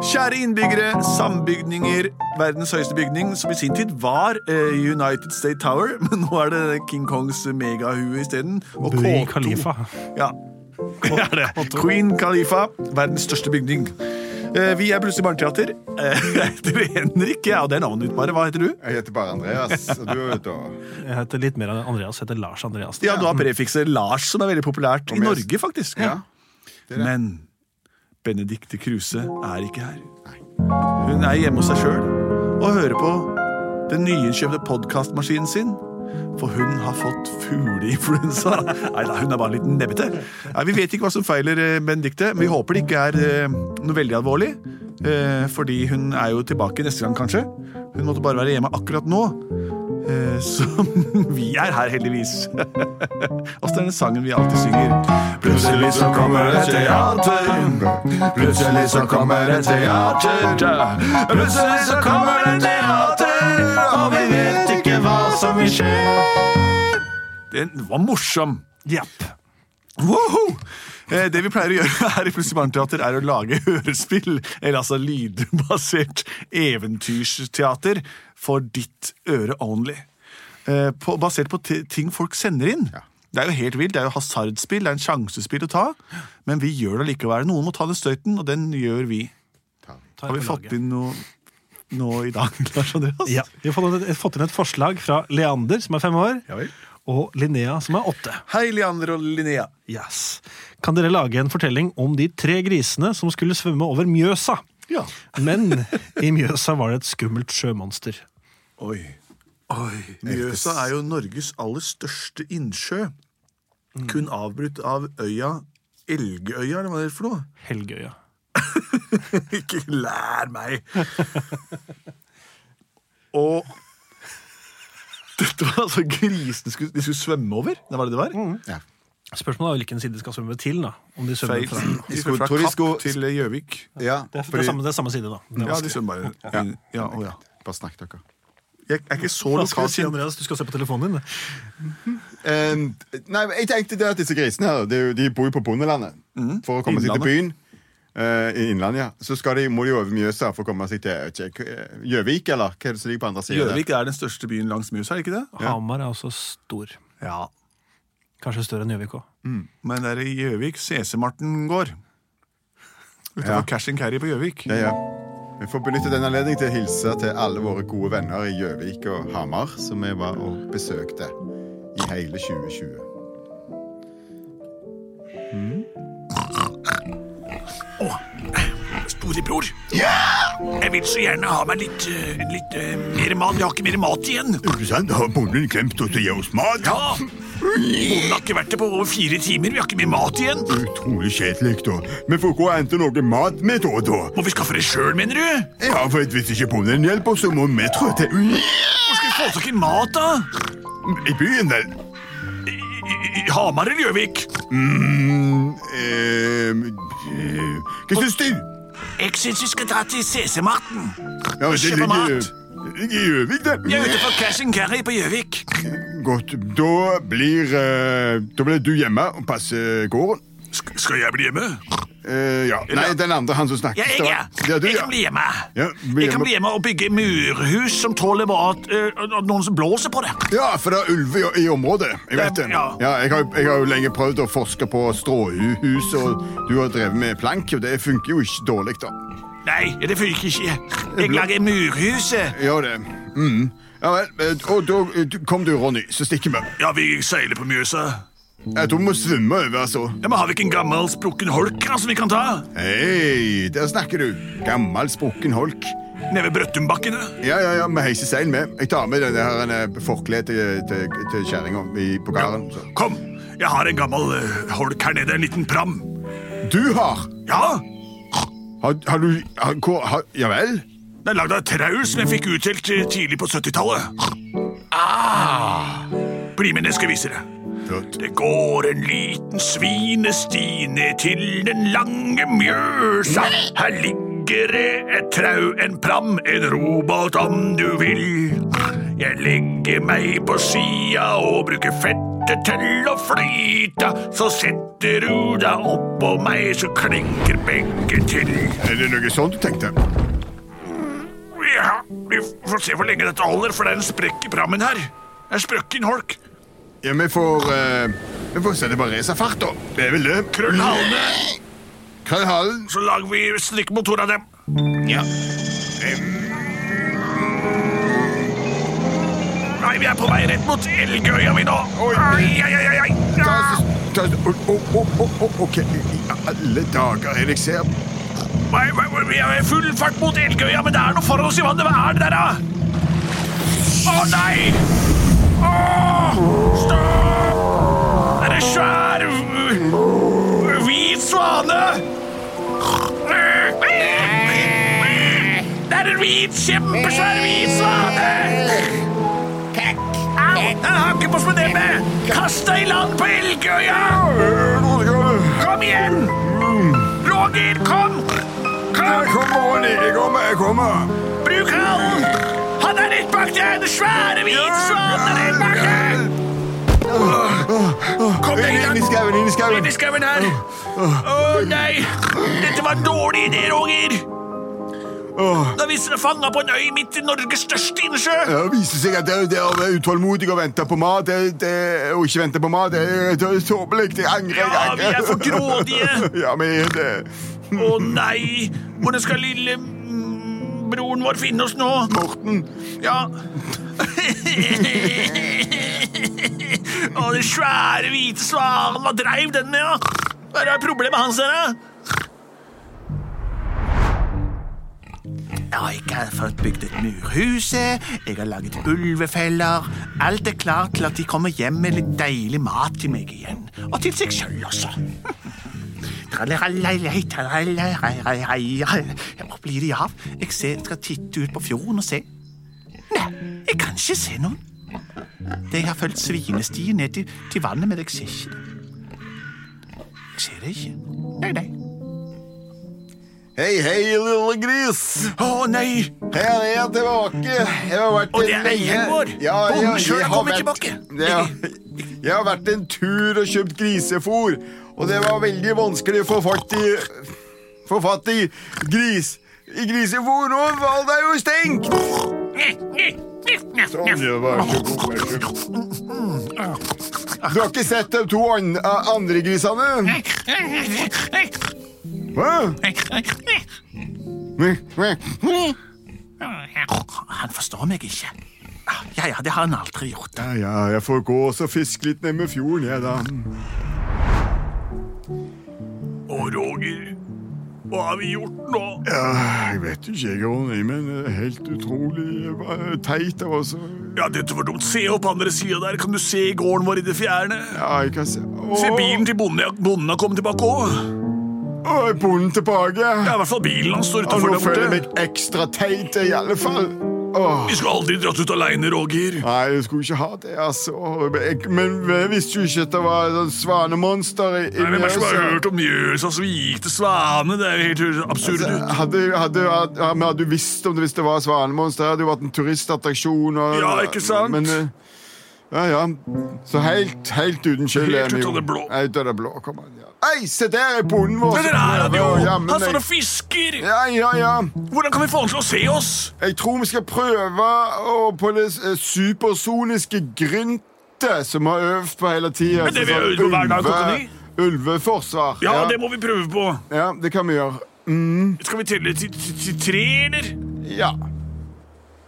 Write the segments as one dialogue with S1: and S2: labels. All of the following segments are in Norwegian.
S1: Kjære innbyggere, sambygninger, verdens høyeste bygning, som i sin tid var eh, United State Tower, men nå er det King Kongs megahue isteden. Og
S2: Bui
S1: K2.
S2: Khalifa.
S1: Ja. Ja, det er det. Queen Khalifa, verdens største bygning. Eh, Vi er plutselig barneteater. Eh, Jeg heter Henrik, ja, og det er navnet ditt bare. Hva heter du?
S3: Jeg heter bare Andreas, og du er jo da
S2: Jeg heter litt mer enn Andreas. Jeg heter Lars Andreas. Mm.
S1: Ja, du har prefikset Lars, som er veldig populært
S3: Om
S1: i
S3: jeg-
S1: Norge, faktisk.
S3: Ja. det er det.
S1: Men Benedicte Kruse er ikke her. Hun er hjemme hos seg sjøl og hører på den nyinnkjøpte podkastmaskinen sin. For hun har fått fugleinfluensa. Nei da, hun er bare en liten nebbete. Nei, Vi vet ikke hva som feiler eh, Benedicte, men vi håper det ikke er eh, noe veldig alvorlig. eh, Fordi hun er jo tilbake neste gang, kanskje. Hun måtte bare være hjemme akkurat nå. Eh, Så vi er her, heldigvis. Åssen er den sangen vi alltid synger?
S3: Plutselig så kommer et teater. Plutselig så kommer et teater.
S1: Plutselig så kommer det teater, og vi vet ikke hva som vil skje. Den var morsom.
S2: Japp.
S1: Woho! Eh, Det vi pleier å gjøre her i Plutselig barneteater, er å lage hørespill, eller altså lydbasert eventyrsteater, for ditt øre only. Eh, På, basert på ti- ting folk sender inn. Det er jo helt vilt, det er jo hasardspill, det er en sjansespill å ta, men vi gjør det likevel. Noen må ta den støyten, og den gjør vi.
S2: Ta
S1: Har vi
S2: på
S1: fått
S2: laget.
S1: inn noe nå i dag, Lars Andreas?
S2: Ja. Vi har fått inn, et, fått inn et forslag fra Leander, som er fem år,
S3: Ja vel.
S2: og Linnea, som er åtte.
S1: Hei, Leander og Linnea.
S2: Yes. Kan dere lage en fortelling om de tre grisene som skulle svømme over Mjøsa?
S1: Ja.
S2: Men i Mjøsa var det et skummelt sjømonster.
S1: Oi. Oi. Mjøsa er jo Norges aller største innsjø. Kun avbrutt av øya Elgøya, eller hva det er for noe?
S2: Helgøya.
S1: Ikke lær meg! Og dette var altså grisene skulle, de skulle svømme over? Det var det det var?
S3: Ja.
S2: Spørsmålet er hvilken side de skal svømme til. da. Om de svømmer
S1: Feil.
S2: fra...
S1: De skulle fra
S3: tror de
S1: Kapp
S3: skulle-
S1: til Gjøvik.
S3: ja,
S2: Det er, det, er
S3: fordi-
S2: samme, det er samme side, da. Det er
S1: Ja, de
S2: vanskelig.
S1: svømmer bare inn. Ja, å ja.
S3: Bare snakk, dere.
S1: Jeg er ikke så
S2: Hva skal du
S1: lokalt
S2: si, Andreas? Du skal se på telefonen din.
S3: Eh, nei, men jeg tenkte det at disse grisene her det er jo- De bor jo på bondelandet.
S2: Mhm.
S3: For å komme seg til byen eh, i Innlandet, ja. Så skal de, må de jo over Mjøsa for å komme seg til jeg vet ikke, eh, Gjøvik, eller hva er det som ligger på andre siden?
S1: Gjøvik er den største byen langs Mjøsa, er det ikke det?
S2: Hamar er også stor.
S1: Ja.
S2: Kanskje større enn Gjøvik òg.
S1: Men det er i Gjøvik CC-Marten går. Utenfor
S3: Ja.
S1: Cash and Carry på Gjøvik.
S3: Ja, ja. Vi får benytte den anledning til å hilse til alle våre gode venner i Gjøvik og Hamar, som vi var og besøkte i hele 2020.
S1: Storebror, jeg vil så gjerne ha meg litt, eh, litt eh, mer mat. Jeg har ikke mer mat igjen.
S4: Ikke sant? Har bonden glemt å gi oss mat?
S1: Ja, Bonden har ikke vært der på over fire timer. Vi har ikke mer mat igjen.
S4: Utrolig kjedelig, da. Vi får gå og hente noe mat med da og da.
S1: Må vi skaffe det sjøl, mener du?
S4: Ja, for at hvis ikke bonden hjelper, så må vi trå til
S1: Hvor skal vi få tak i mat, da?
S4: i byen, vel.
S1: I, i, i Hamar eller Gjøvik?
S4: Mm, ehm, eh, hva syns du?
S1: Jeg syns vi skal dra til CC-Marten.
S4: Ja, det
S1: Kjøpe
S4: ligger-
S1: mat.
S4: det ligger i Gjøvik,
S1: Vi er
S4: det.
S1: ute for Cash and Carry på Gjøvik.
S4: Godt. Da blir, eh, da blir du hjemme og passer gården.
S1: skal jeg bli hjemme?
S4: Eh, ja. Nei, den andre, han som snakker.
S1: Ja, jeg, ja.
S4: Ja, du,
S1: jeg
S4: ja.
S1: kan bli hjemme.
S4: Ja, bli
S1: Jeg kan
S4: hjemme.
S1: bli hjemme og bygge murhus som tåler at, at noen som blåser på det.
S4: Ja, for det er ulver i, i området. Jeg vet det.
S1: Ja.
S4: Ja. jeg, har, jeg har jo lenge prøvd å forske på stråhus, og du har drevet med plank, og det funker jo ikke dårlig, da.
S1: Nei, det funker ikke. Jeg lager murhuset.
S4: Gjør det. Mm. Ja vel, eh, og da eh, du- kom du, Ronny, så stikker vi.
S1: Ja, vi seiler på Mjøsa.
S4: Jeg tror vi Eh, må svømme over, altså.
S1: Ja, men Har vi ikke en gammel sprukken holk da, som vi kan ta?
S4: Hei, der snakker du. Gammel, sprukken holk.
S1: Nede ved Brøttumbakken?
S4: Ja, ja, ja, vi heiser seil med. Jeg tar med denne her, eh, forkleet til, til, til kjerringa i- på gården. så.
S1: Kom, jeg har en gammel eh, holk her nede. En liten pram.
S4: Du har
S1: Ja,
S4: Har, har du har, hvor- har, Ja vel?
S1: den er lagd av trau som jeg fikk utdelt eh, tidlig på 70-tallet. Ah. Bli med, jeg skal vise deg.
S4: Flott.
S1: Det går en liten svinesti ned til den lange mjøsa. Her ligger det et trau, en pram, en robåt om du vil. Jeg legger meg på sida og bruker fettet til å flyte. Så setter du deg oppå meg, så klinker begge til.
S4: Er det noe sånt du tenkte?
S5: Ja, vi får se hvor lenge dette holder, for det er en sprekk i prammen her. Det er sprøkken holk.
S4: Ja, vi får eh, Vi får sette på racerfart, da. Det er vel det.
S5: Krøll halene,
S4: Krøllhalen.
S5: så lager vi slikkmotor av dem.
S4: Ja.
S5: Nei, vi er på vei rett mot Elgøya, vi nå.
S4: Oi.
S5: Ai, ai, ai, ai, ai.
S4: Ta oss ta oss- Å, å, å, å, å, OK. I alle dager er det jeg ser
S5: Nei, nei, nei, Vi er i full fart mot Elgøya, men det er noe for oss i vannet. Hva er det der, da? Å nei! Åh, stopp! Det er en svær uh, hvit svane! Det er en hvit, kjempesvær hvit svane! Au! Den hakker på spedebet! Kast deg i land på Elgøya! Kom igjen! Roger, kom! Kom!
S4: Kom, Ronny. Mm. Jeg kommer. Jeg kommer.
S5: Bruk halen! Han er rett bak deg! Den svære hvite svanen er rett bak deg! Kom deg i
S4: Inn i
S5: gang!
S4: skauen, inn i skauen.
S5: Inn i skauen her! Å nei! Dette var en dårlig idé, Roger!
S4: Åh.
S5: Da vi er fanga på en øy midt i Norges største innsjø!
S4: Ja, Det viser seg at det, det å være utålmodig og vente på mat det, det, og ikke vente på mat, det, det er tåpelig. Jeg angrer. jeg
S5: Ja, vi
S4: angrer.
S5: er for grådige!
S4: Ja, vi er det.
S5: Å nei! Hvordan skal lille mm, broren vår finne oss nå?
S4: Morten.
S5: Ja. Å, den svære hvite svanen. Hva dreiv den med, ja? Hva er problemet hans, dere?
S1: Jeg har ikke fått bygd et murhus, jeg har laget ulvefeller. Alt er klart til at de kommer hjem med litt deilig mat til meg igjen. Og til seg sjøl også. Tralalalalei, tralalalalei. Hvor blir de av? Jeg ser, skal titte ut på fjorden og se. Nei, jeg kan ikke se noen. Det jeg har fulgt svinestien ned til, til vannet, men jeg ser ikke det. Jeg ser det ikke. Nei, nei.
S4: Hei, hei, lille gris.
S1: Å, nei!
S4: Her er jeg tilbake. Jeg har vært
S5: Og det er
S4: lenge-
S5: eieren vår.
S4: Ja, jeg-
S5: Bonden selv
S4: jeg
S5: har kommet
S4: vært-
S5: tilbake.
S4: Ja, jeg har vært en tur og kjøpt grisefôr, og det var veldig vanskelig å få fatt i Få fatt i gris. I grisefôr. Nå var det jo stengt. Sånn, ja, vær så god, vær så god. Du har ikke sett de to an eh, andre grisene? Hva?
S1: Han forstår meg ikke. Ja, ja, det har han aldri gjort.
S4: Ja, ja, jeg får gå og så fiske litt ned med fjorden, jeg, da.
S5: Å, Roger. Hva har vi gjort nå?
S4: Ja, jeg vet ikke, jeg, Ronny, men det er helt utrolig eh, teit av oss. å-
S5: Ja, dette var dumt. Se opp andre sida der. Kan du se gården vår i det fjerne?
S4: Ja, jeg kan se Å,
S5: Se bilen til bonden. Ja, Bonden har kommet tilbake òg.
S4: Å, er bonden tilbake?
S5: Ja, i hvert fall bilen hans står
S4: Ja,
S5: utafor
S4: nå
S5: der
S4: føler jeg
S5: borte.
S4: meg ekstra teit, i alle fall. Åh.
S5: Vi skulle aldri dratt ut aleine, Roger.
S4: Nei, jeg skulle ikke ha det, altså. Jeg, men jeg visste jo ikke at det var et svanemonster i, i
S5: Nei, Hvem er det som har
S4: Mjøsa.
S5: hørt om Mjøsa som gikk til svane? Det er jo helt absurd.
S4: Altså, Hadde, hadde, hadde, men hadde du visst om det hvis det var svanemonster, hadde det jo vært en turistattraksjon. Og,
S5: Ja, ikke sant?
S4: Men, eh, ja, ja. Så helt, helt uten skyld
S5: Helt
S4: er vi
S5: ut av
S4: jo.
S5: det blå.
S4: Helt ut av det blå, kommer han, ja. Ei, se der er bonden vår!
S5: Men der er han jo!
S4: Ja, men
S5: Han står og
S4: jeg-
S5: fisker!
S4: Ja, ja, ja.
S5: Hvordan kan vi få han til å se oss?
S4: Jeg tror vi skal prøve å, på det eh, supersoniske gryntet som har øvd på hele tida.
S5: Men det vi øver på hver dag, klokka ni.
S4: Ulveforsvar.
S5: Ja, det må vi prøve på.
S4: ja, det kan vi gjøre. Mm,
S5: Skal vi telle til, til, til tre, eller?
S4: Ja.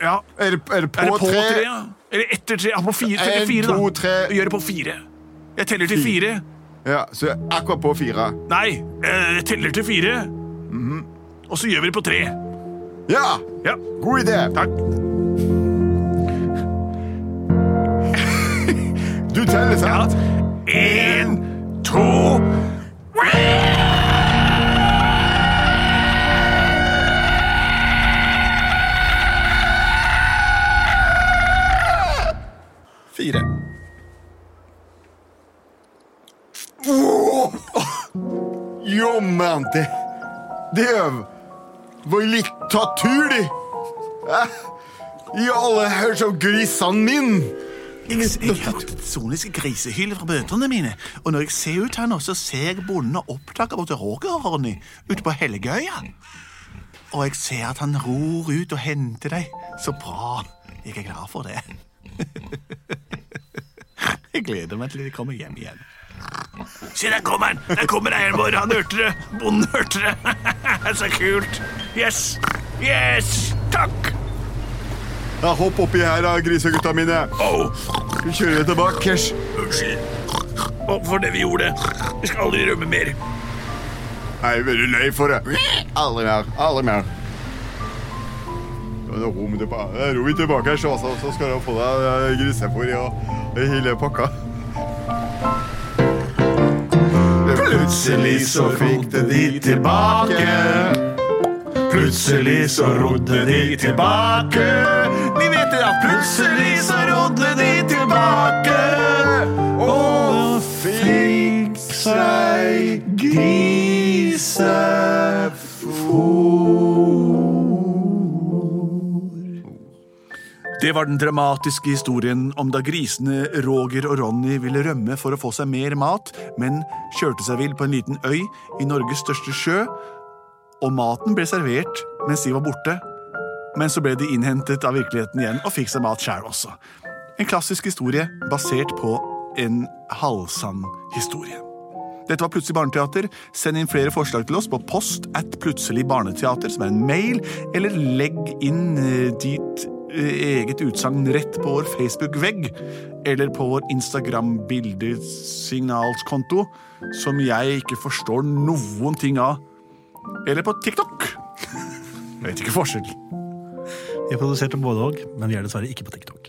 S5: Ja.
S4: Er det, er det på,
S5: Er det på tre?
S4: tre?
S5: ja? Eller etter tre? Ja, på fire.
S4: En,
S5: Teller fire, da.
S4: to, tre.
S5: Vi gjør det på fire. Jeg teller til fire.
S4: Ja, så akkurat på fire.
S5: Nei, eh, jeg teller til fire. Og så gjør vi det på tre.
S4: Ja!
S5: Ja.
S4: God idé.
S5: Takk.
S4: Du teller, sant?
S5: En, to
S1: Fire.
S4: Jo, mann, det Det øv- var litt taturlig. Eh, I alle hører som grisene min.
S1: Jeg, jeg hørte det soniske grisehylet fra bøtene mine. Og når jeg ser ut her nå, så ser jeg bonden og oppdager både Roger og Ronny ute på Helgøya.
S6: Og jeg ser at han ror ut og henter deg. Så bra. Jeg er glad for det. Jeg gleder meg til de kommer hjem igjen. Se, der kommer han! Der kommer eieren Han hørte det! Bonden hørte det! Så kult! Yes! Yes! Takk!
S4: Ja, hopp oppi her, da, grisegutta mine.
S6: Au!
S4: Vi kjører tilbake. Kers.
S6: Unnskyld Å, for det vi gjorde. Vi skal aldri rømme mer.
S4: Nei, jeg er veldig lei for det. Aldri mer. Aldri mer. Ja, Nå ror vi tilbake, eh, ror vi tilbake her, så, så- så skal du få deg eh, grisefôr i og i hele pakka.
S5: Plutselig så rodde de tilbake. Plutselig så rodde de tilbake. Vi vet det at plutselig så rodde de tilbake. Og fikk seg grisefôr. Det var den dramatiske historien om da grisene Roger og Ronny ville rømme for å få seg mer mat, men kjørte seg vill på en liten øy i Norges største sjø. Og maten ble servert mens de var borte, men så ble de innhentet av virkeligheten igjen og fikk seg mat sjæl også. En klassisk historie basert på en halvsann historie. Dette var Plutselig barneteater. Send inn flere forslag til oss på post at plutselig barneteater, som er en mail, eller legg inn eh, ditt eh, eget utsagn rett på vår Facebook-vegg, eller på vår Instagram-bildesignalskonto, som jeg ikke forstår noen ting av, eller på TikTok. Jeg vet ikke forskjell.
S2: Vi er produsert av både og, men vi er dessverre ikke på TikTok.